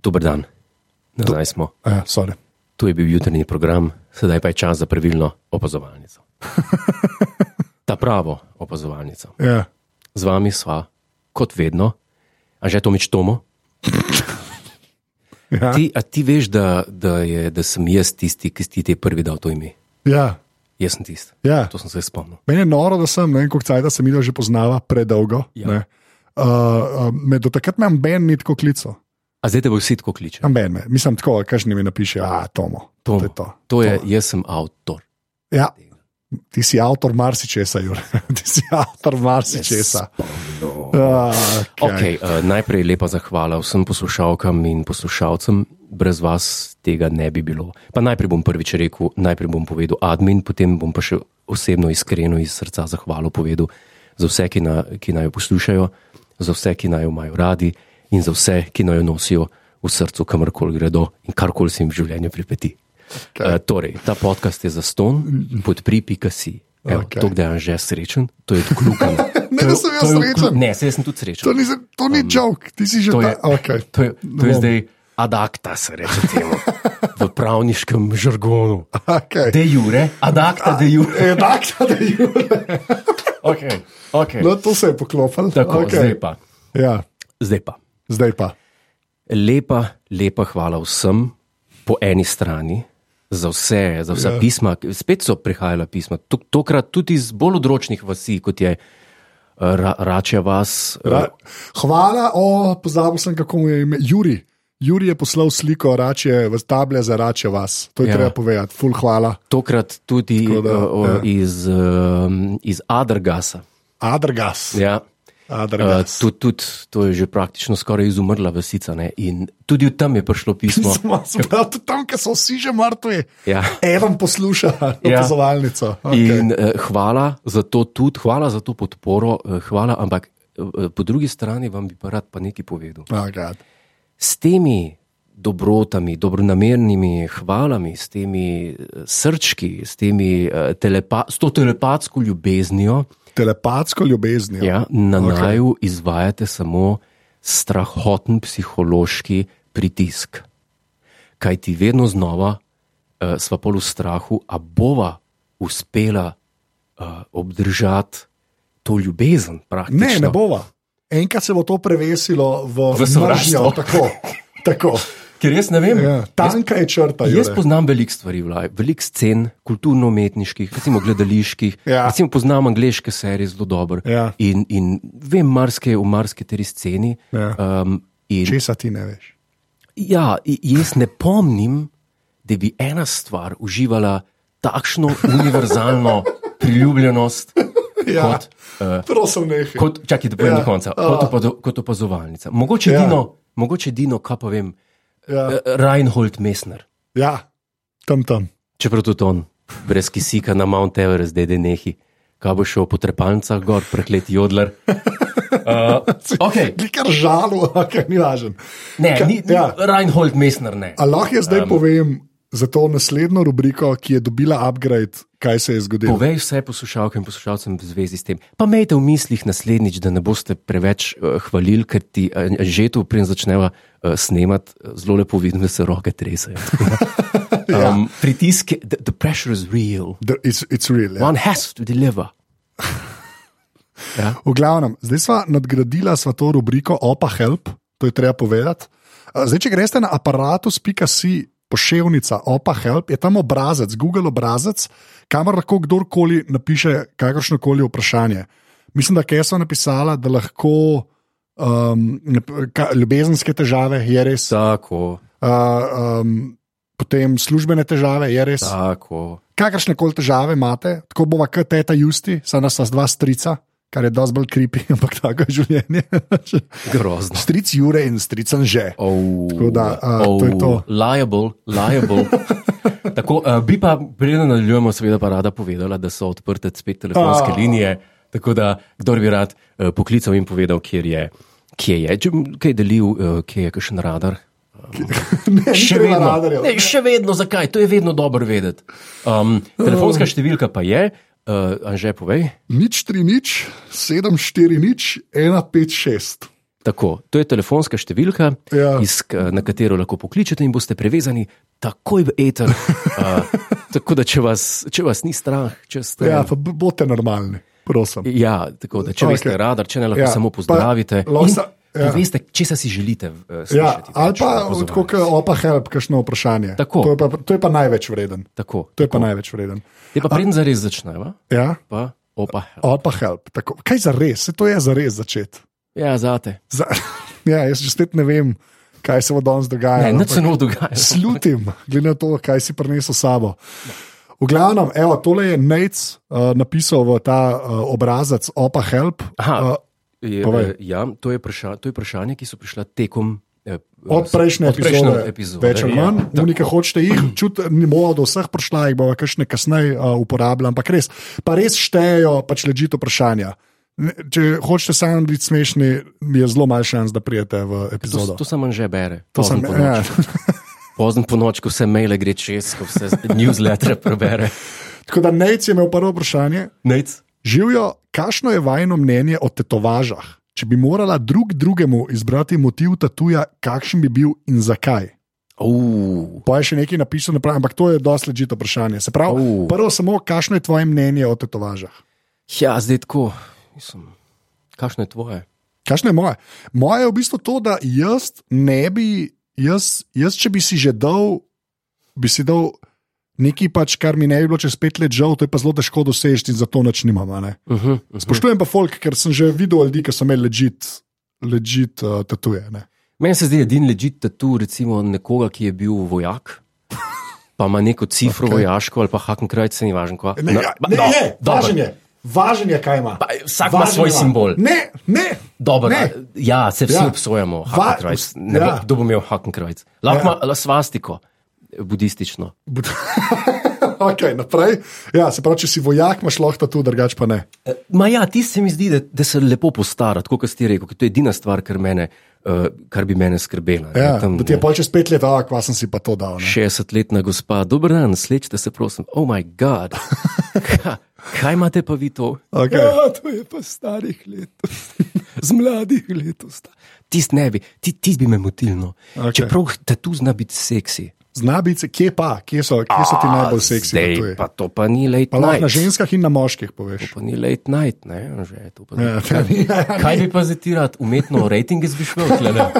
Dober dan, nazaj smo. Ja, sorry. To je bil jutrni program, sedaj pa je čas za pravilno opazovalnico. Ta pravo opazovalnico. Ja. Z vami sva, kot vedno, a že Tomič Tomo. Ja. Ti, a ti veš, da, da, je, da sem jaz tisti, ki ti je prvi dal to ime. Ja. Jaz sem tisti. Ja. To sem se spomnil. Meni je noro, da sem, ne vem, koliko cajt sem videl, že poznava predolgo. Ja. Ja. Uh, uh, do takrat me ben ni tako klical. A zdaj te bo vsi tako kliče. Ben me, mislim tako, kažni mi napiše, a Tomo. Tomo. To je to. To je, jaz sem avtor. Ja. Ti si avtor marsičesa, Jure. Ti si avtor marsičesa. Ah, Okay, uh, najprej lepa zahvala vsem poslušalkam in poslušalcem, brez vas tega ne bi bilo. Pa najprej bom prvič rekel, najprej bom povedal admin, potem bom pa še osebno, iskreno iz srca zahvalo povedal za vse, ki, na, ki naj jo poslušajo, za vse, ki naj jo imajo radi in za vse, ki naj jo nosijo v srcu, kamorkoli gredo in karkoli se jim v življenju pripeti. Okay. Uh, torej, ta podcast je za ston, podpri.si. Okay. Okej. To, da je že srečen, to je klukano. Ne, da sem jaz srečen. Ne, saj jaz sem tudi srečen. To ni, to ni um, joke, ti si že To je, ta- Okay. to je, to je Bom. zdaj ad acta, se reče temu, v pravniškem žargonu. Okay. De jure, ad acta de jure. Je E, tak, da je Jure. Okay, okay. No, to se je poklopil. Tako, okay. zdaj, pa, Ja, zdaj pa. zdaj pa. Lepa, lepa hvala vsem po eni strani. Za vse, za vsa Ja. yeah. pisma, spet so prihajala pisma, to, tokrat tudi iz bolj odročnih vasi, kot je eh, ra, Rače vas. eh, Ra Hvala, o, pozabil sem, kako mu je ime. Juri. Juri je poslal sliko rače, v table za rače vas. To je Ja. ja. treba povedati, ful hvala. Tokrat tudi Tako da, da, o, ja. ja. iz, um, iz Adragasa. Adrgas. Ja. Ja. Uh, Adrgas. tudi, tudi to je že praktično skoraj izumrla vasica. Ne? In tudi od tam je prišlo pismo. Smo zbrali tudi tam, ker so vsi že mrtvi. Ja. Eden posluša Ja. ja. opazovalnico. Okay. Okay. In eh, hvala za to tudi, hvala za to podporo, eh, hvala, ampak eh, po drugi strani vam bi pa rad pa nekaj povedal. Oh, God. S temi dobrotami, dobronamernimi hvalami, s temi eh, srčki, s, temi, eh, telepa, s to telepatsko ljubeznijo, Telepatsko ljubeznijo. ja, na Okej. okay. naju izvajate samo strahoten psihološki pritisk. Kaj ti vedno znova uh, sva pol v strahu, a bova uspela uh, obdržati to ljubezen. praktično. Ne, ne bova. Enkrat se bo to prevesilo v, V sovraštvo. mržnjo, Tako, tako. Ker jaz ne vem. Ja. Tanka je črta. Jaz Jure. poznam veliko stvari, vlaj, veliko scen, kulturno-umetniških, recimo gledaliških. Ja. Recimo poznam angliške serije zelo dobro. Ja. In, in vem marsikaj o marsikateri sceni. Ja. Um, in Česa ti ne veš? Ja, i- jaz ne pomnim, da bi ena stvar uživala takšno univerzalno priljubljenost Ja. kot, uh, Prosim, nehaj. kot, čakaj, da povem Ja, do konca, kot, opazo, kot opazovalnica. Mogoče Ja. edino, mogoče edino, kaj pa vem, Ja. eh, Reinhold Messner, Ja, tam tam. čeprav tudi on, brez kisika na Mount Everest, zdaj nehi, kaj bo šel po trepalnicah gor, prekleti jodler. Uh, okay. Ni kar žalo, ampak ni važen. Ne, Ka- ni, ni, ja. Reinhold Messner ne. A lahko jaz zdaj um, povem za to naslednjo rubriko, ki je dobila upgrade, kaj se je zgodilo? Povej vse poslušalkam in poslušalcem v zvezi s tem. Pa imejte v mislih naslednjič, da ne boste preveč uh, hvalili, ker ti uh, že tu, preden začneva uh, snemati, eh, zelo lepo vidim, da se roke tresajo. Ja. Um, pritisk, je- the, the pressure is real. The, it's, it's real, ja. One has to deliver. Ja. V glavnem, zdaj sva nadgradila sva to rubriko Opa Help, to je treba povedati. A, Zdaj, če greste na aparatus.si. Pošiljka, opa, help, je tam obrazec, Google obrazec, kamor lahko kdorkoli napiše kakršno koli vprašanje. Mislim, da Kesa napisala, da lahko um, nap- ka, ljubezenske težave, je res, Tako, Uh, um, potem službene težave, je res. Da. tako. Kakršne koli težave imate, tako bova kot teta Justi, saj nas sta dva strica, kar je dosti bolj kripi, ampak tako je življenje. Grozno. Stric Jure in stric Anže. Oh, Tako da, a, to je to. Liable, liable. tako, a, bi pa, preden nadaljujemo, seveda pa rada povedala, da so odprte spet telefonske Ah. linije. Tako da, kdo bi rad a, poklical in povedal, kjer je, kje je, če bom kaj delil, a, kje je kakšen radar. Ne, Še treba vedno, radarjev. ne, še vedno, zakaj? To je vedno dobro vedeti. Um, Oh. telefonska številka pa je, uh, Anže, povej. Nič tri nič, sedem štiri nič, ena pet šest. Tako, to je telefonska številka, Ja. iz, k- na katero lahko pokličete in boste prevezani takoj v eter. Uh, tako da, če vas, če vas ni strah, če ste. Ja, pa b- bodite normalni, prosim. Ja, tako da, če okay. veste Okej. radar, če ne lahko Ja, ja, samo pa pozdravite. lahko sa- ja. Veste, če se si želite eh, slišati. Ja, ali pač, pa opozorjanje. tako, kot opa help, kakšno vprašanje. Tako. To je pa, to je pa največ vreden. tako. To je pa največ vreden. Je pa preden zares začneva, Ja, pa opa. help. opa help. Tako. Kaj za res, se to je za res začeti. Ja, zate. Za, ja, jaz že spet ne vem, kaj se bo danes Ne, dogajalo. nič ampak- se ne dogaja. Slutim, glede na to, kaj si prinesel s sabo. V glavnem, evo, tole je Nates uh, napisal v ta uh, obrazac Opa Help. Aha, Uh, je, eh, povej. ja, to je, vpraša, to je vprašanje, ki so prišla tekom. eh, od prejšnje od prejšnje epizode, epizode, več ali ja. manj, ja, nekaj hočete jih, čut, ne bo do vseh prišla, jih bomo kakšne kasneje uh, uporabljali, ampak res, pa res štejejo pač ležite vprašanja. Ne, Če hočete sami biti smešni, je zelo malo šans, da prijete To, v epizodo. to samo že bere. To sem- ja. Pozno po noč, ko se maile gre čez, ko se newsletter prebere. Tako da Nates je imel prvo vprašanje, Nec. Živijo, kakšno je vajno mnenje o tetovažah? Če bi morala drug drugemu izbrati motiv tatuja, kakšen bi bil in zakaj? Uh, Pa je še nekaj napisano, naprej, ampak to je dosti ležito vprašanje. Se pravi, Au. uh. prvo samo, kakšno je tvoje mnenje o tetovažah? ja, zdaj tako. Mislim, kakšno je tvoje? Kakšno je moje? Moje je v bistvu to, da jaz ne bi, jaz, jaz če bi si že dal, bi si dal nekaj, pač, kar mi ne bi bilo čez pet let žal, to je pa zelo težko doseči in zato nič nimam. a Ne? Uh -huh, uh -huh. Spoštujem pa folk, ker sem že videl ljudi, ki so imeli ležit, ležit uh, tatuje. Ne? Meni se zdi edini legit tatu, recimo nekoga, ki je bil vojak. Pa ima neko cifro okay. vojaško ali pa haken kraj, se ni važno. kva. Ne, Na- ja, ba- ne, no, ne dobro. važen je. Važen je, kaj ima. Pa, eh, vsak ima svoj simbol. Ne, ne. Dobro, ne. a- ja, se vsi Ja. ja. obsojamo, Va- Hakenkrajc. Ne bo- ja. kdo bo imel Hakenkrajc. Lahko ima Ja. la svastiko, budistično. okay, naprej. Ja, se pravi, če si vojak, imaš lahko tu, drugač pa ne. Eh, Ma ja, ti se mi zdi, da, da se lepo postara, tako kot si ti rekel, ker to je edina stvar, kar, mene, uh, kar bi mene skrbela. ne, Ja, tam, da ti je ne, pol čez pet let, a kva sem si pa to dal. Ne? 60-letna gospa, dober dan, slečite se, prosim. Oh, moj bog, kaj imate pa vi to? Okej. Ja, to je pa starih let, z mladih let. Tisti ne bi, ti, ti bi me motilno. Okej. Okay. Čeprav tatu zna biti seksi. Zna biti, se- kje pa, kje so, kje so ti najbolj seksi Zdaj, tatuji? pa to pa ni late Pa lahko na night. ženskah in na moških poveš. Pa ni late night, ne, že to pa. Ja, to ni- Kaj bi pa zdaj ti rad, umetno rejtinge bi šel, klene.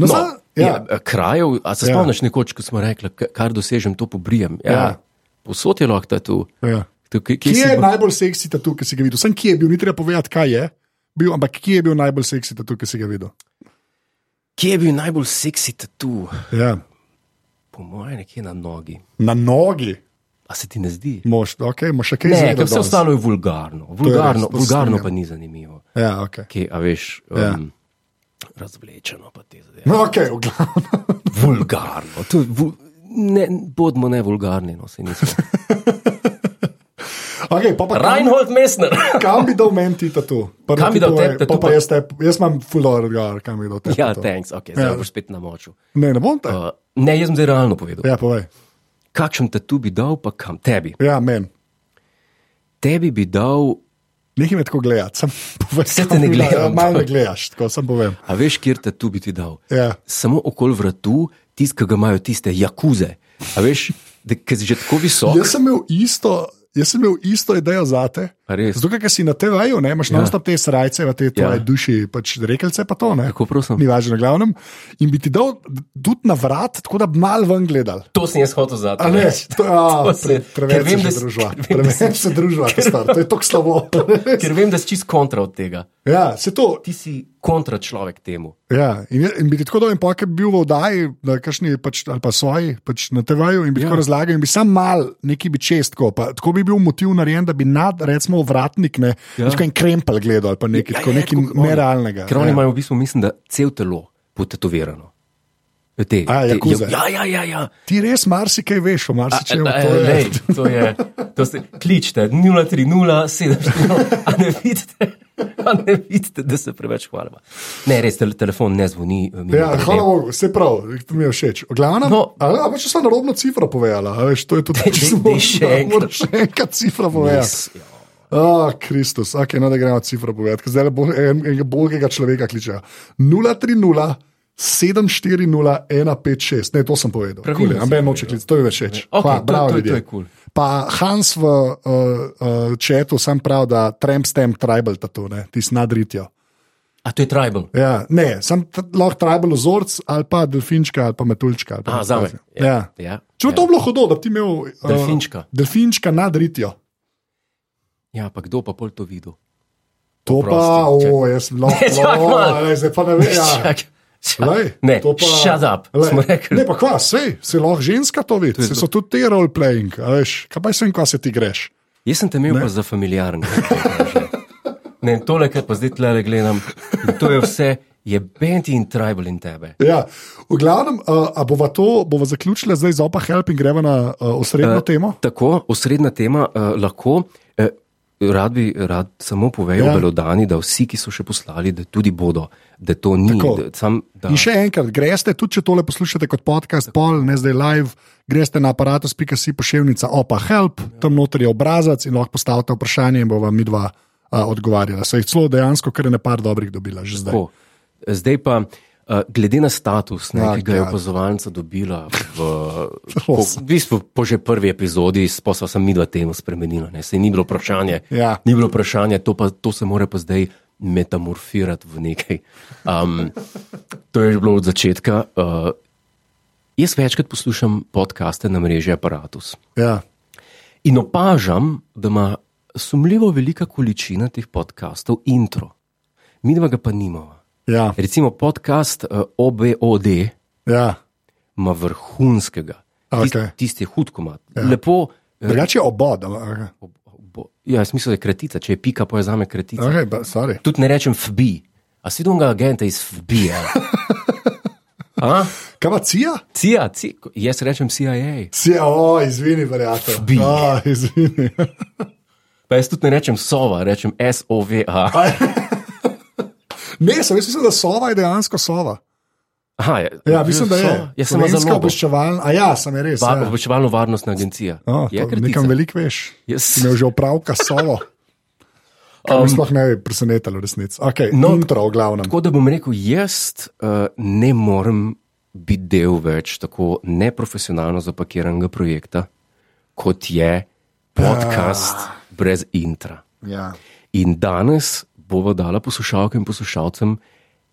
No, No, za- ja. ja. Ja, krajev, a se Ja. spomniš nekoč, ko smo rekli, k- kar dosežem, to pobrijem. Ja, Ja. ja. Posod je lahko tu. Ja. Kje, kje Kje si je bo- najbolj seksi tatu, ki si ga videl? Sem kje je bil, ni treba povedati, kaj je. Bil, ampak kje je bil najbolj seksi tatu, ki si ga videl? kje je bil najbolj seksi tu? Ja. Po mojem, nekje na nogi. Na nogi. A se ti ne zdi? Mož, okay, mož še kaj Ne, ker izvedel vse danes? ostalo je vulgarno. Vulgarno, to se vulgarno strinjam. pa ni zanimivo. Ja, okay. Kje, a veš, um, Ja. ja. razvlečeno pa te zadeve. No, okay, v glavnem. vulgarno. To, je vul, ne, bodimo ne vulgarni, no se nismo. okay, pa pa kam, Reinhold Messner. kam bi dal meni ti tatu? Prvo Kam bi ti dal povej, tebi tatu Pa pa pa- jaz, te, jaz imam fulor odgovor, kam bi dal te. ja, tatu. thanks, ok, zdaj Ja. ja. boš spet na moču. Ne, ne bom te. Uh, ne, jaz sem zdaj realno povedal. Ja. Ja, povej. Kakšen tatu bi dal, pa kam tebi? Ja, men. Tebi bi dal, Nehaj me tako gledati, sem povedal. Saj te ne gledam. Malo ne gledaš, tako sem povem. a veš, kjer tatu bi ti dal? Ja. Samo okol vratu, tisti, ki ga imajo tiste jakuze. A veš, ki si že tako visok. Jaz sem imel isto. Jaz sem imel isto idejo za te. A res? Zato, ker ker si na TV-ju, ne, imaš ja. non-stop te srajce, v tej tvoji ja. Ja. duši, pač rekelce, pa to ne. Kako, prosim? Ni važno, na glavnem. In bi ti dal tudi na vrat, tako da bi mal ven gledal. To sem jaz hotel za A ne, to, a, To pre, se- ker preveč vem, da se že si- družba, ker vem, da preveč se družba, star, to je tako slabo. Ker vem, da si čist kontra od tega. Ja, se to. Ti si kontra človek temu. Ja, in, je- in bi ti tako dal en poker, bil v oddaji, na kakšni pač, ali pa svoji, pač na TV-ju in bi ja. tako razlagal in bi sam mal neki bi čestko, pa tako bi bil motiv narejen, da bi nad, recimo, vratnik, ne, ja. Ja. neko en krempel gledal ali pa nekaj, ja, tako, ja, nekaj tako kot oni. nerealnega. Ker oni ja. imajo v bistvu, mislim, da cel telo potetovirano. Te, A, te, jakuze. ja, ja, ja. ja. Ti res marsikaj veš o marsičem. A, to a, je- Eh, lej, to je, to ste, kličite 030-740, a ne vidite. A ne vidite, da se preveč hvalimo. Ne, res, tel telefon ne zvoni. eh, mi ne Ja, povem. hvala Bogu, vse prav, to mi je všeč. Glavno, no, No. ali pa če sem na robno cifro povedala, a veš, to je tudi Dej, dej, dej še Moraš še enkrat cifra Res, povedati. ja. Ah, Kristus, ok, no da gremo cifra povedati, ker zdaj bo en- enega bolgega človeka kličejo. 030. 740-156, ne, to sem povedal. Pravilno Kul je, si Amben noče klic, to je všeč. Okej, Hvala, to- bravo, to- to je ljudje. kul. Pa Hans v uh, uh, četu sam pravi, da tramp stamp tribal tatu, ne, ti snadritijo. A to je tribal. Ja, ne, sam t- lahko tribal vzorc ali pa delfinčka ali pa metulčka. Ali pa Aha, kaj zame. takega. Ja. Ja. Če bi to bilo hudo, da bi ti imel uh, Delfinčka. delfinčka nadritijo. ja, pa kdo pa pol to videl? To pa, Oprosti, če- o, jaz sem lahko. Ne, čakaj o, malo. lej, Zdaj pa ne veš. Ja. Čakaj, čakaj. Lej, Ne, to pa- shut up, lej. smo rekli. Ne, pa kva, sej, se lahko ženska to ve, se so tudi te role-playing, a veš, kaj pa sem, kva se ti greš. Jaz sem te imel pa za familiarno. Ne, tole, kar pa zdaj tle gledam, in to je vse, je benti in tribal in tebe. Ja, v glavnem, uh, a bova to, bova zaključila zdaj z opa help in greva na uh, osrednjo uh, temo. Tako, osrednja tema uh, lahko. Uh, Rad bi rad samo povedal, Ja. ja. belodani, da vsi, ki so še poslali, da tudi bodo, da to ni. Tako. Da, sam, da, In še enkrat, greste, tudi če tole poslušate kot podcast, pol, ne zdaj live, greste na aparatus.si pošiljka opa help, Ja. tam noter je obrazac in lahko postavite vprašanje in bo vam midva a, odgovarjala. Se jih celo dejansko, ker je ne par dobrih dobila že zdaj. Tako. Zdaj pa, uh, glede na status, ne, Ah, ki ga je God. opazovalnica dobila, v, po, v Prosim. bistvu po že prvi epizodi, sposa sem midva temu spremenila, ne, se ni bilo vprašanje. Ja. Ni bilo vprašanje, to, pa, to se mora pa zdaj metamorfirati v nekaj. Um, to je že bilo od začetka. Uh, jaz večkrat poslušam podcaste na mreži Apparatus Ja. in opažam, da ima sumljivo velika količina teh podkastov intro. Mi dva ga pa nimamo. Ja, Recimo podcast eh, OBOD ja. ima vrhunskega. Tist- Okej. Tisti je hud komat. Ja. Lepo. eh, Drugače je obod. ampak- ob- obo- Ja, jaz mislim, da je kratica, če je pika, pa je za me kratica. Okay, ba- sorry. Tudi ne rečem FBI. A si dolga agenta iz FBI-ja? A? Kaj pa cija? CIA, CIA, jaz rečem CIA. Cija, o, izvini, verjate. Bi. O, izvini. Pa jaz tudi ne rečem SOVA, rečem SOVA. Ne, sem jaz mislim, da sova je dejansko sova. Aha, ja, Ja, mislim, da je. Sova. Ja, sem za lobo. obveščevalna. A ja, sem je res. Va- Ja. Obveščevalno varnostna agencija. No, je to nekam veliko veš. Ja, Jaz- Si imel že opravka s solo. Um, sploh ne bi presenetilo, resnici. Okay, no, intro, v glavnem. Tako da bom rekel, jaz uh, ne morem biti del več tako neprofesionalno zapakiranega projekta, kot je podcast Ah. brez intra. Ja. In danes bova dala poslušalkam in poslušalcem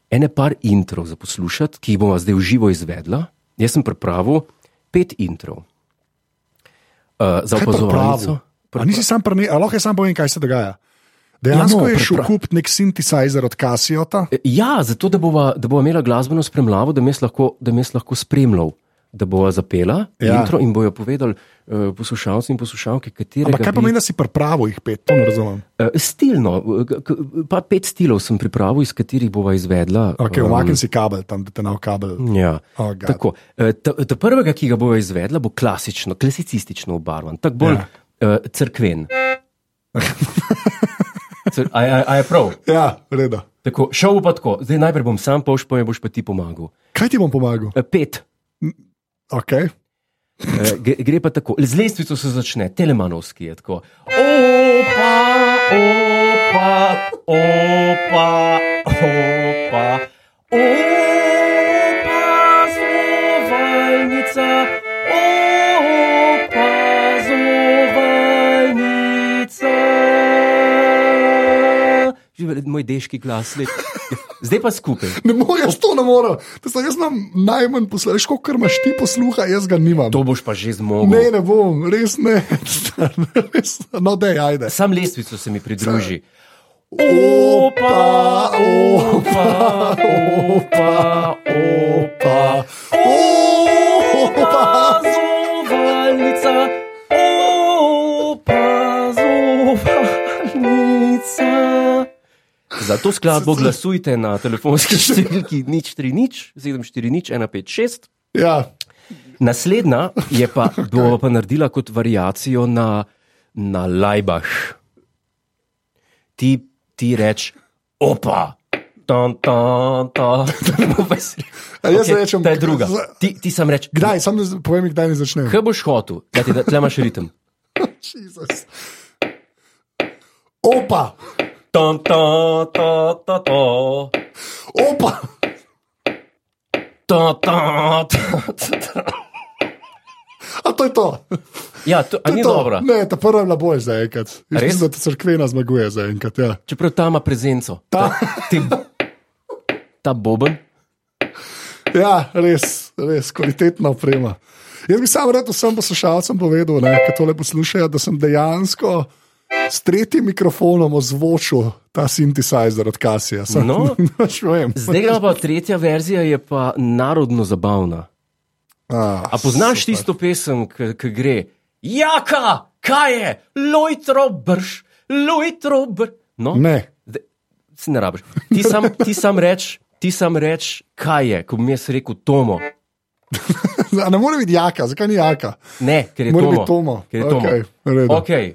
ene par introv za poslušati, ki jih bomo zdaj v živo izvedla. Jaz sem pripravil pet introv. Uh, za Kaj opazovanje. pripravo? A nisi sam prni, ali lahko jaz sam povem, kaj se dogaja. Dejansko Ja, no, je šel pripra- kupiti nek sintetizer od Kasiota. Ja, zato da bova, da bova imela glasbeno spremljavo, da me jaz lahko, da me jaz lahko spremljal, da bova zapela Ja. ja. intro in bojo povedali uh, poslušalci in poslušalke, katere Ampak kaj pomeni, da si pripravo jih pet, to ne razumem. Uh, stilno, eh, k- k- pa pet stilov sem pripravil, iz katerih bova izvedla. Okay, Umakni si kabel, tam da te nav kabel. Ja, Oh, God. tako. Eh, Ta, ta prvega, ki ga bojo izvedla, bo klasično, klasicistično obarvan, tako bolj Ja. ja. uh, crkven. Cr- A, a, a je prav. Ja, reda. Tako, šel bo pa tako, zdaj najprej bom sam pošil, pa mi boš pa ti pomagal. Kaj ti bom pomagal? Eh, Pet. Okay. Eh, gre- Gre pa tako, z lestvico se začne, telemanovski je tako. Opa, opa, opa, opa, opa, zovalnica, opa, zovalnica. Že ver- moj deški glas, lep. zdaj pa skupaj. Ne morem, jaz to ne morem. To sem, jaz imam najmanj posluha, veš, koliko imaš ti posluha, jaz ga nimam. To boš pa že zmogel. Ne, ne bom, res ne. res, no, dej, ajde. Sam lestvico se mi pridruži. Opa, opa, opa, opa, Opa! opazovalnica, opazovalnica. Za to skladbo glasujte na telefonski številki nič tri nič, sedem štiri nič, ena pet šest. Ja, Naslednja je pa, bo pa naredila kot variacijo na, na lajbaš. Ti, ti reč, opa. Tan, tan, tan. Bo pa si- A jaz Okej, rečem- ta je druga. z- Ti, ti sam reč, kdaj, sam ne z- povej mi, kdaj ne začnem. Kaj boš hotel, da ti da, tle imaš ritem. Jezus. Opa, Tom, tom, tom, tom, tom. opa. Ta, ta, ta, ta, ta. A to je to. Ja, to, a To je ni to. dobro. Ne, ta prva je bila bolj zaenkrat. Res? Res, da ta crkvena zmaguje zaenkrat. Ja. Čeprav ta ima prezenco. Ta- ti, ta boben. ja, res, res, kvalitetna oprema. Jaz bi sam rad vsem poslušalcem povedal, ne, ki tole poslušajo, da sem dejansko s tretjim mikrofonom ozvočil ta sintetizer od Kasija. Sam, No. ne vem. Zdaj gre pa tretja verzija, je pa narodno zabavna. A, A poznaš Super. tisto pesem, ki gre? Jaka, kaj je, lojtro brž, lojtro brž. No, Ne. Zdaj, si ne rabiš. Ti sam, ti sam reč, ti sam reč, kaj je, ko bi mi jaz rekel Tomo. A ne more biti jaka, zakaj ni jaka? Ne, ker je Mora Tomo. biti Tomo. Ker je Tomo. Okej, v redu. Okay.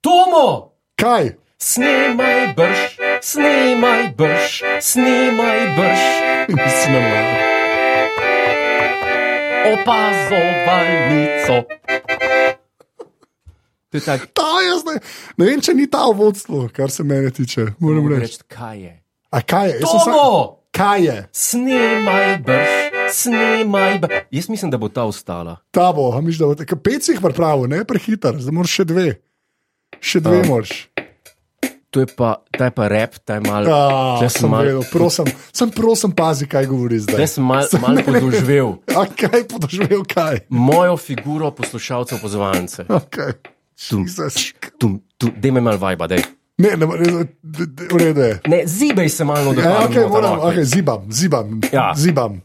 Tomo, Kaj? snemaj brž, snemaj brž, snemaj brž, Nisem imel. opazovalnico. To je tako, Ta je zdaj. Ne vem, če ni ta v vodstvu, kar se mene tiče. Moram moram reči. reči, kaj je. A kaj je? Jaz sem sam- Tomo, Kaj je? snemaj brž, snemaj brž. Jaz mislim, da bo ta ostala. Ta bo, a miš, da bo tako. Pet si jih pripravil, ne prehiter, zdaj moraš še dve. Še dve Ja. moraš. To je pa, ta je pa rep, ta je mal, Ja, tle Ah, sem sem mal, vedel, prosim, sem prosim pazi, kaj govori zdaj. tle sem mal, mal podoživel A kaj podoživel, kaj? mojo figuro poslušalcev opozovancev. Okay. Tum, Jesus. tum, tum, dej me mal vajba, dej. Ne, ne, ne, ne, v redu je. Ne, zibej se malo do Ja, tega. okay, moram, okay, zibam, zibam, Ja. zibam.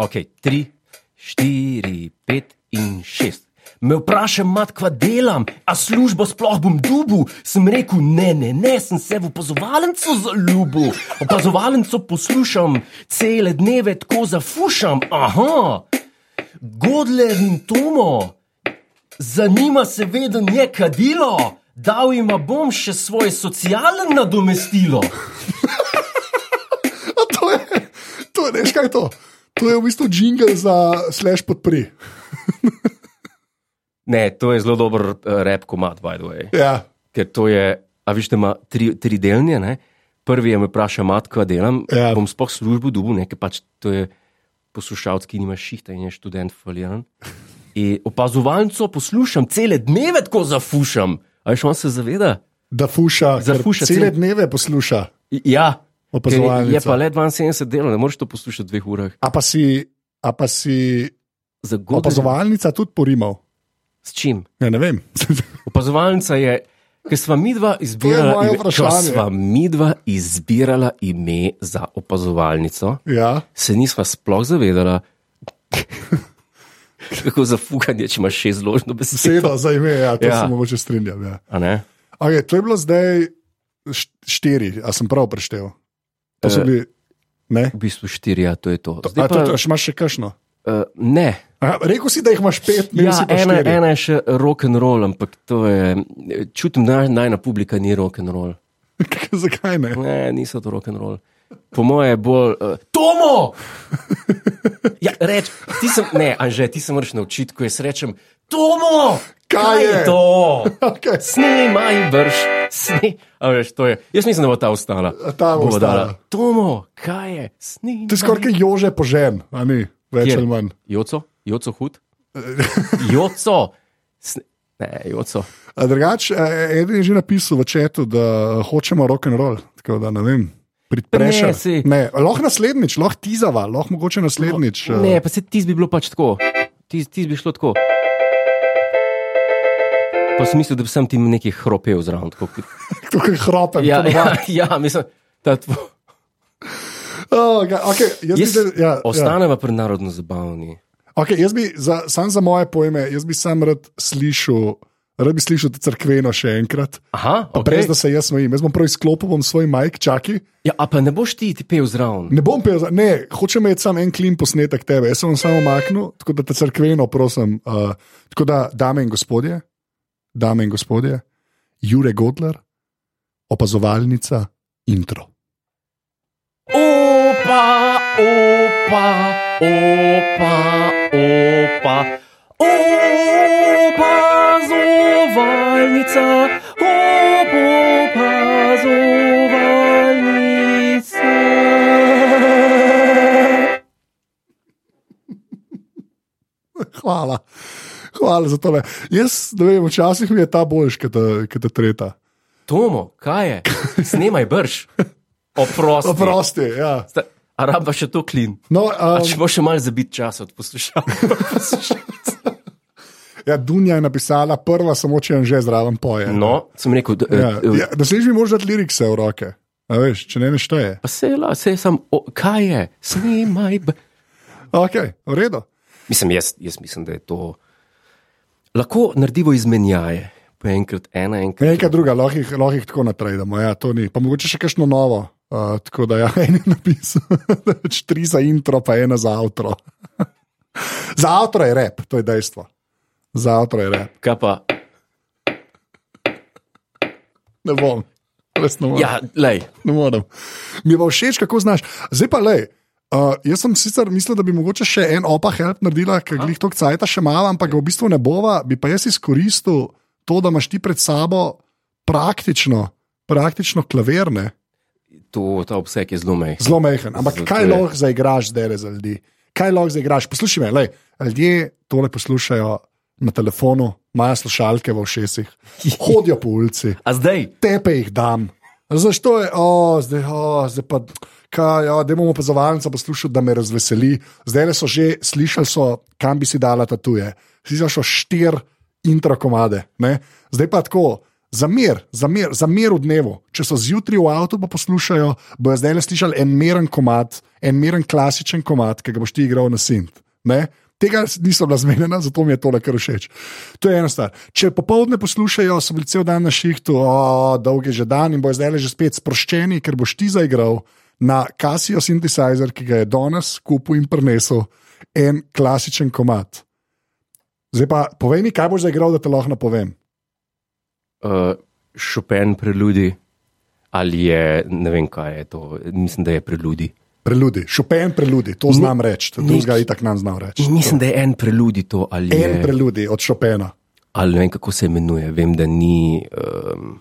ok, tri, štiri, pet in šest. Me vprašam, mat, kva delam, a službo sploh bom dubu. Sem rekel, ne, ne, ne, sem se v opazovalnico zaljubil. Opazovalnico poslušam, cele dneve tako zafušam. Aha, Godler in Tomo, zanima se veden je kadilo, dal jim bom še svoje socialno nadomestilo. A to je, to je, veš kaj je to? To je v bistvu jingle za slash podpri. Ne, to je zelo dober uh, rep komat, by the way. Ja, Ker to je, a viš, da ima tri, tri delnje. Ne? Prvi je me vprašal, matko, kaj delam, ja. Ja. bom spoh službo dubu, nekaj pač to je poslušalc, ki nima šihta in je študent faljen. In opazovalnico poslušam, cele dneve tako zafušam. A veš, on se zaveda? da fuša, ker Zafuša cele cel- dneve posluša. I- Ja. Ker Je je Opazovalnica. pa le 72 delo, ne moreš to poslušati v dveh urah. A pa si, a pa si Zagotovo. opazovalnica tudi porimal. S čim? Ja, ne vem. Opazovalnica je, ker sva midva moje izbirala, ime- ko vprašanje. sva midva izbirala ime za opazovalnico, ja. se nisva sploh zavedala, kako zafukanje, če imaš še zložno besedo. Seveda, za ime, ja, to ja. Ja. se mogoče strinjam. Ja. A ne? Okay, to je bilo zdaj št- štiri, a sem prav preštel. To so Eh, bili. Ne? V bistvu štiri, ja, to je to. A, Zdaj to, pa, to, še imaš še kakšno? uh, ne. Aha, rekel si, da jih imaš pet, ne Ja, si pa ena, štiri. ena je še rock and roll, ampak to je, čutim, da najna publika ni rock and roll. Zakaj ne? Ne, niso to rock and roll. Po mojem je bolj. Uh, Tomo! Ja, reč, ti sem, ne, anže, ti se moraš naučiti, ko jaz rečem, Tomo! Kaj je?" to? Okay. Snemaj brž, snemaj. A veš, to je. Jaz mislim, da bo ta ostala. A ta bo Bo dala, ostala. Tomo, kaj je? Snemaj. To je skoraj kot jože požen, a ni več Kjer? ali manj. Joco, joco hud. Joco. Sne, ne, joco. A Drugač, eh, eden je že napisal v četu, da e, hočemo rock and roll. Tako da ne Ne, vem. saj. Pridprešer. Ne, lahko naslednjič, lahko tizava, lahko mogoče naslednjič. eh, Ne, pa se tisti bi bilo pač tako. Tisti tis bi šlo tako. Pa sem mislil, da bi sem ti nekaj hropel zraven. tako kot- Tako kot hropem. Ja, Ja, ja, ja, mislim. ta tvo- oh, okay, jaz Jaz, bi, da- ja, ja. ostaneva pri narodno zabavni. Okay, jaz bi, za, sam za moje pojme, jaz bi sam rad slišal, rad bi slišal to crkveno še enkrat. Aha, Okay. Brez da okay. se jaz smejim. Jaz bom prav izklopil bom svoj majk, čaki. ja, a pa ne boš ti, ti pel zraven. Ne bom pel, za- ne, hočem imeti samo en klin posnetek tebe. Jaz sem vam samo omaknil, tako da te crkveno prosim. Uh, tako da, dame in gospodje, dame in gospodje, Jure Godler, opazovalnica, intro. Opa, opa, opa, opa, opa, zovalni. opazovalnica, ob opazovalnice. Hvala. Hvala za to. Jaz ne vem, včasih mi je ta boljš, kot ta- kot ta tretja. Tomo, kaj je? Snemaj brž. Oprosti. Oprosti, ja. Sta- A raba še to klin. No, A um, če bo še malo zabit čas od poslušalcev. ja, Dunja je napisala prva, samo če je že zraven poje. No, sem rekel, da, Ja, ja, ja, da se mi moraš dati lirikse v roke. A veš, če ne nešteje. ja. se je, la- se je sam, o, kaj je, snemaj. b- Ok, v redu. Mislim, jaz, jaz mislim, da je to. Lahko naredimo izmenjaje, po enkrat ena, enkrat Nekaj druga, lahko jih- lahko jih tako natrajdemo. Ja, to ni. Pa mogoče še kakšno novo. Uh, tako da ja, en je napisal, da pač tri za intro, pa ena za avtro. za avtro je rep, to je dejstvo. Za avtro je rep. Kaj pa? Ne bom, resno bom. Ja, lej. ne morem. Mi je pa všeč, kako znaš. Zdaj pa le. Uh, jaz sem sicer mislil, da bi mogoče še en opa help naredila, ker glih to cajta še malo, ampak ga v bistvu ne bova. Bi pa jaz izkoristil to, da imaš ti pred sabo praktično, praktično klavirne, To, ta obseg je zelo mehko. zelo mehen. Ampak Zato kaj je. lahko zaigraš zdaj za ljudi? Kaj lahko zaigraš? Poslušaj me, lej, ljudje tole poslušajo na telefonu, imajo slušalke v ušesih, hodijo po ulici A zdaj? tepe jih dam. Zašto je, o, zdaj, o, zdaj pa, kaj, ja, da bomo opazovalnica poslušali, da me razveseli. Zdaj le so že slišali, so, kam bi si dala tatuje. Si zašel štiri intro komade, ne? zdaj pa tako. Za mir, za mir, za mir v dnevu. Če so zjutraj v avtu, pa poslušajo, bojo zdaj le slišali en miren komad, en miren klasičen komad, ki ga boš ti igral na sint. Ne? Tega nisem razmenjena, zato mi je tole kar všeč. To je ena stvar. Če popovdne poslušajo, so bili cel dan na šihtu, o, dolg je že dan in bojo zdaj le že spet sproščeni, ker boš ti zaigral na Casio Synthesizer, ki ga je danes kupil in prinesel en klasičen komat. Zdaj pa povej mi, kaj boš zaigral, da te lahko napovem. Uh, Šopen preludi. Ali je, ne vem, kaj je to, mislim, da je preludi. Preludi, šupen preludi, to znam reči, drugega itak nam znam reči. Mislim, da je en preludi to, ali je. En preludi od šupena. ali ne vem, kako se imenuje. Vem, da ni. Um,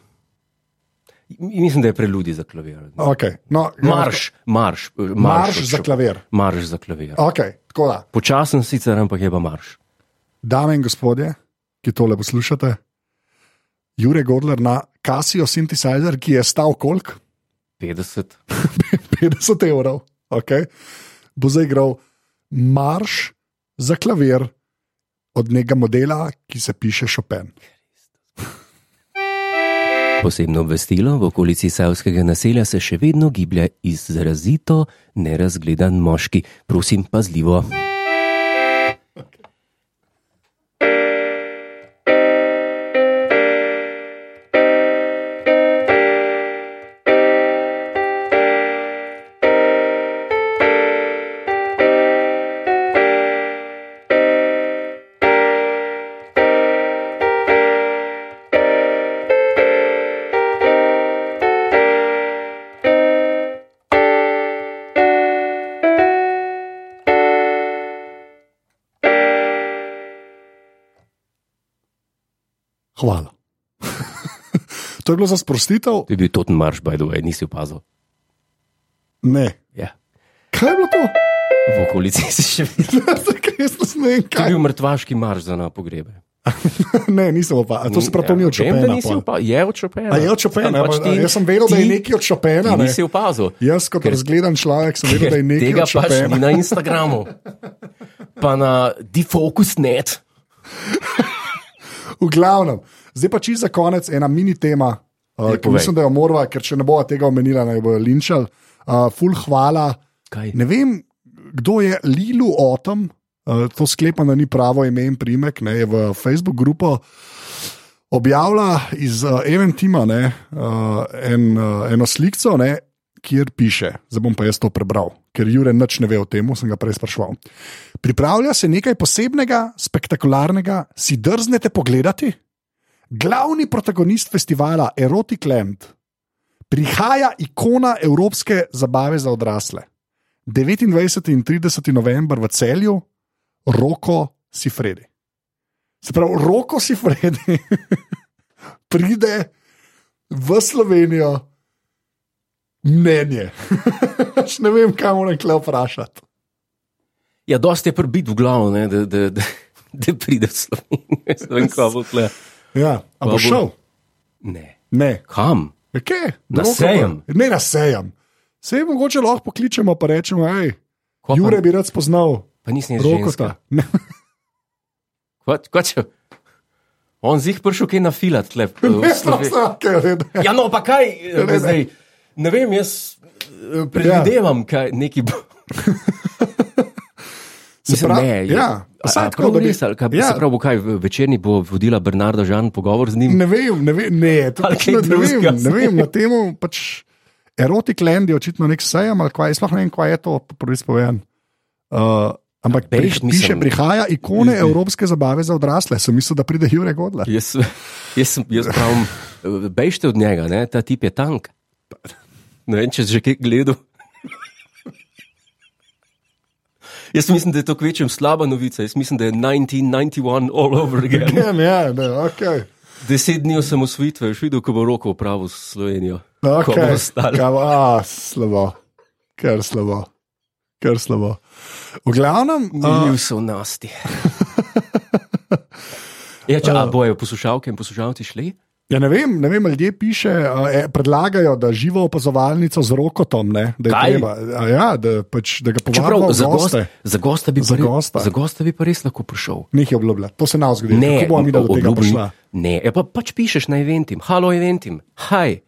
mislim, da je preludi za klavir. Okay. No, Marš, marš, eh, marš, Marš od za Chop- klavir. Marš za klavir. Okay, tako da. Počasen sicer, ampak je pa marš. Dame in gospodje, ki tole poslušate, Jurek Godler na Casio Synthesizer, ki je stal koliko? 50. 50 evrov, okay, bo zdaj igral marš za klavir od nekega modela, ki se piše Chopin. Posebno obvestilo, v okolici savskega naselja se še vedno giblja izrazito nerazgledan moški. Prosim, pazljivo. Hvala. to je bilo za sprostitev? To je bil toten marš, by the way, nisi opazil. Ne. Ja. Kaj je bilo to? V okolici se še vedno. Zakaj jaz ne vem, To kaj? je bil mrtvaški marš za na pogrebe. ne, nisem opazil. To se pravi, to ni od Ja, Vem, da Chopina. nisi pol. opazil. Je od Chopina. A je od Chopina? Ja, pač Ja, jaz sem vedel, da je nekaj od Chopina. Ti Ne? nisi opazil. Jaz kot Ker- razgledan človek sem vedel, da je nekaj Tega od pač Chopina. ni na Instagramu, pa na defocus.net. V glavnem, zdaj pa čisto za konec ena mini tema, uh, Ja, ki povej. mislim, da jo morava, ker če ne bova tega omenila, naj bojo linčali. Uh, ful, hvala. Kaj? Ne vem, kdo je Lilu Otom, uh, to sklepam, da ni pravo ime in primek, ne, je v Facebook grupo. Objavlja iz uh, Eventima ne, uh, en, uh, eno sliko, kjer piše, zdaj bom pa jaz to prebral, ker Jure nič ne ve o tem, sem ga prej sprašval. Pripravlja se nekaj posebnega, spektakularnega, si drznete pogledati? Glavni protagonist festivala Erotic Land prihaja ikona evropske zabave za odrasle. 29. in 30. november v celju, roko si Fredi. Se pravi, roko si Fredi. pride v Slovenijo mnenje. Pač ne vem, kam moram kle vprašati. Ja, dosti je prbit v glavo, ne, da, da, da, da pride v Slovenijo. Jaz Ne vem, kako bo tle. Ja, a bo bo? šel? Ne. Ne. Ja, Kam? Okay, Na sejem. Ne na sejem. Sej mogoče lahko pokličemo in rečemo, hej, Ko Jure pa, bi rad spoznal pa nisi nič ženska. rokota. Ne, Kva- kva če- On zih prišel kaj na filat, tle. v ne, Sloven- ne, ne. Ja, no, pa kaj, eh, Ne, ne. zdaj, ne vem, jaz eh, Ja. predvidevam, kaj neki bo. Mislim, pravi, ne, je- ja, a- vsaj a tako, prav da bi- res, ali kaj, ja. se pravi, bo kaj v- večerni bo vodila Bernarda Žan pogovor z njim. Ne vem, ne vem, ne, to Ali pač kaj ne, ne drugega, vem, ne saj. vem, na temu pač erotik land je očitno nek sejem ali kaj, jaz sploh ne vem, kaj je to, prvič povem. Uh, ampak Ja, pri, bejž, mislim. piše, prihaja ikone evropske zabave za odrasle, sem mislil, da pride Jure Godla. Jaz, jaz, sem- jaz pravim, eh, bejšte od njega, ne? ta tip je tank. Ne vem, če si že kaj gledal. Jaz mislim, da je to kvečem slaba novica. Jaz mislim, da je 1991 all over again. Ja, ne, ne, ok. Deset dni osamosvitve, še videl, ko bo roko upravil s Slovenijo. Ko bo Okay. stal. Kaj, a, slabo, kar slabo, kar slabo. V glavnem, uh, Mili so nasti. Ja, če a bojo poslušalke in poslušalci šli, ja ne vem, ne vem, ljudje piše, uh, eh, predlagajo, da živo opazovalnico z rokotom, ne, da, je Kaj? treba, a ja, da, pač, da ga čeprav povabimo za za gost- goste. za gosta bi Za pa re- gosta. za gosta bi pa res lahko prišel. Nekaj obljublja, to se nam zgodi. Ne, Kako bomo mi do tega obljubim- prišla? Ne, ja, pa, pač pišeš na eventim, halo eventim, haj.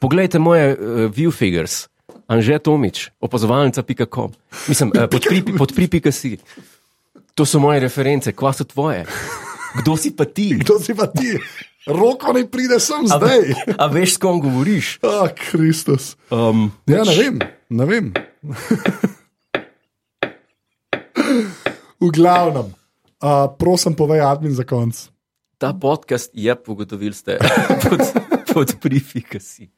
Poglejte moje uh, view figures, Anže Tomič, opazovalnica.com. Mislim, uh, podpri.si. Podpri to so moje reference, kva so tvoje. Kdo si pa ti? Kdo si pa ti? Roko ne pride sem zdaj. A veš, s kom govoriš? Ah, oh, Kristus. Um, Ja, ne vem, ne vem. V glavnem, uh, prosim, povej, admin za konc. ta podcast je, ugotovili ste, pod, podpri.si.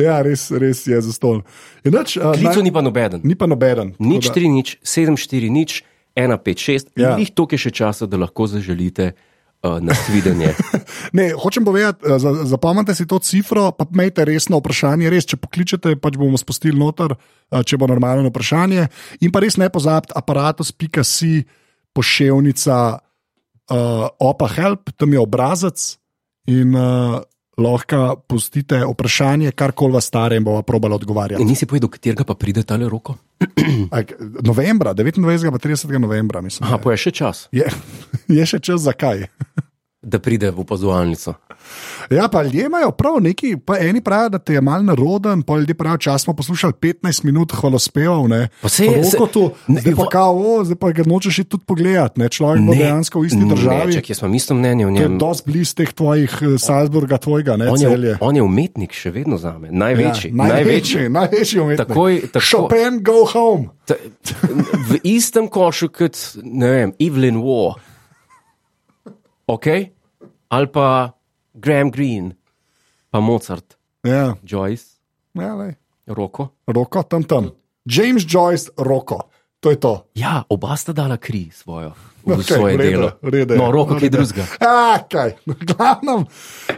Ja, res, res je zaston. Inač, uh, Klicu ni pa nobeden. ni pa noben. Nič 3, nič 7, 4, nič 1, 5, 6. Ja. Ja. Njih toliko je še časa, da lahko zaželite uh, na svidenje. Ne, hočem povedati, eh, za- zapomnite si to cifro, pa imejte resno vprašanje. Res, če pokličete, pač bomo spustili noter, eh, če bo normalno vprašanje. In pa res ne pozabite, aparatus.si pošiljka uh, opa help, tam je obrazec in uh, lahko pustite vprašanje, kar kol vas stare in bova probala odgovarjati. Nisi povedal, katerega pa pride tale roko? A, k- Novembra, 29. pa 30. novembra, mislim. Aha, da je. pa je še čas, Je, je še čas zakaj. da pride v opazovalnico. Ja, pa ljudje imajo prav neki, pa eni pravijo, da te je mal naroden, pa ljudje pravijo, čas smo poslušali 15 minut hvalospevov, ne. Pa saj je- Roko se- tu, ne, zdaj pa va- kao, o, zdaj pa ga nočeš iti tudi pogledati, ne, človek bo dejansko v isti Ne, državi. čak, jaz imam isto mnenje o To je njem. dosti blizu teh tvojih eh, Salzburga, tvojega, ne, On je, celje. on je umetnik še vedno za me, največji. ja, največji, največji umetnik. Takoj- tako- Chopin, go home. Ta, v istem košu kot, ne vem, Evelyn Waugh, okay? ali pa Graham Greene, pa Mozart, Ja, Joyce, ja, lej. Roko. roko tam tam. James Joyce, roko. To je to. Ja, oba sta dala kri svojo, v okay, Okay, svoje No, v redu, delo. v redu je, no, roko, v ki je redu je. drugega. A, kaj, no, v glavnem.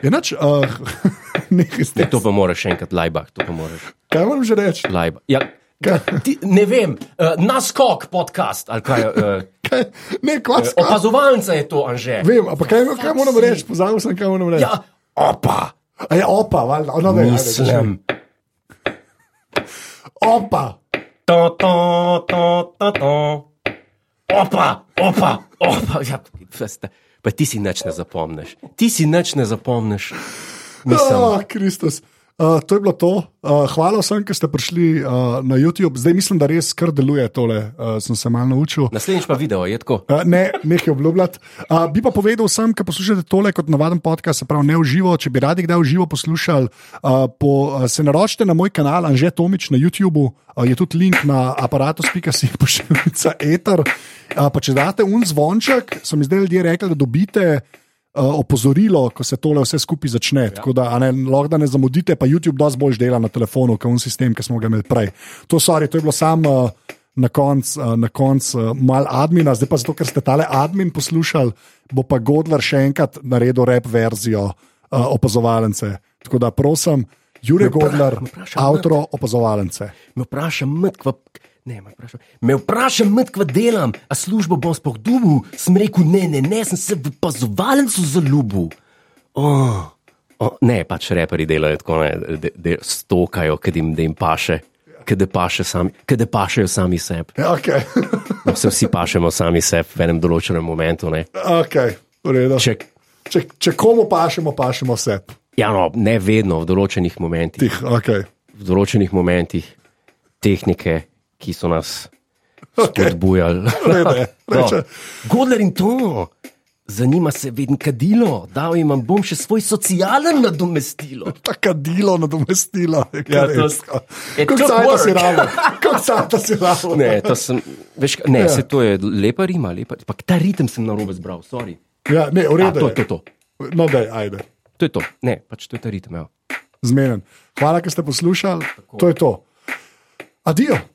Enač, uh, nekaj ste. To pa moraš še enkrat lajbah, to pa moraš Kaj moram že reči? lajbah. Ja, Kaj- ti, ne vem, uh, naskok podcast ali kaj. Uh, Kaj, ne, Eh, kvas. opazovalnica je to, Anže. Vem, ampak kaj, kaj moram reči? Pozabil sem, kaj moram reči. Ja, opa, A ja, opa, valjda, ono da je. mislim. Opa. To, to, to, to, to. Opa, opa, opa. Ja, veste, pa ti si nič ne zapomniš. Ti si nič ne zapomniš. Mislim. Oh, Kristus. Uh, to je bilo to. Uh, hvala vsem, ki ste prišli uh, na YouTube. Zdaj mislim, da res kar deluje tole. Uh, sem se malo naučil. Naslednjič pa video je tako. Uh, Ne, nekaj obljubljati. Uh, bi pa povedal vsem, ki poslušate tole kot navaden podcast, se pravi ne v živo. Če bi radi kdaj v živo poslušali, uh, po, uh, se naročite na moj kanal Anže Tomič na YouTubu, uh, je tudi link na aparatus.si pošiljka Eter. Uh, pa če date un zvonček, so mi zdaj ljudje rekli, da dobite. Uh, opozorilo, ko se tole vse skupaj začne. Ja. Tako da a ne, lahko da ne zamudite, pa YouTube dosti bolj dela na telefonu, kot un sistem, ki smo ga imeli prej. To, sorry, to je bilo samo. Uh, na koncu uh, konc, uh, mal admina, zdaj pa zato, ker ste tale admin poslušali, bo pa Godler še enkrat naredil rep verzijo. uh, opazovalence. Tako da prosim, Me Jurek vpra- Godler, me vprašaj, avtor opazovalence. Me vprašam, mrtva. Ne, me vprašam, me vprašam, mrtva delam, a službo bom spoh dubu, sem rekel, ne, ne, ne, sem se v opazovalcu zaljubil. Oh, oh, ne, pač reperi delajo tako, ne, de, de, stokajo, ker jim, da jim paše, ker da paše sami, ker da pašejo sami sebi. Ja, okay. No, se vsi pašemo sami sebi v enem določenem momentu. Ne. okay, v redu. Če, če, če komu pašemo, pašemo vse. ja, no, ne vedno, v določenih momentih, Tih, okay. v določenih momentih tehnike, ki so nas spodbujali. Rede, No, reče, Godler in to, zanima se vedno kadilo, dal jim bom še svoj socialen nadomestilo. Taka dilo nadomestila. Ja, to- it Kako took sajta si work. ravno? Kako sajta si ravno? Ne, to Ja. sem, veš, ka- ne, se to je lepa rima, lepa, pa ta ritem sem na robe zbral, sorry. Ja, ne, v A, redu. to, je- je. to je to, No, daj, ajde. to je to, ne, pač to je ta ritem. Ja. Zmeren. Hvala, ker ste poslušali. To je to. Adijo.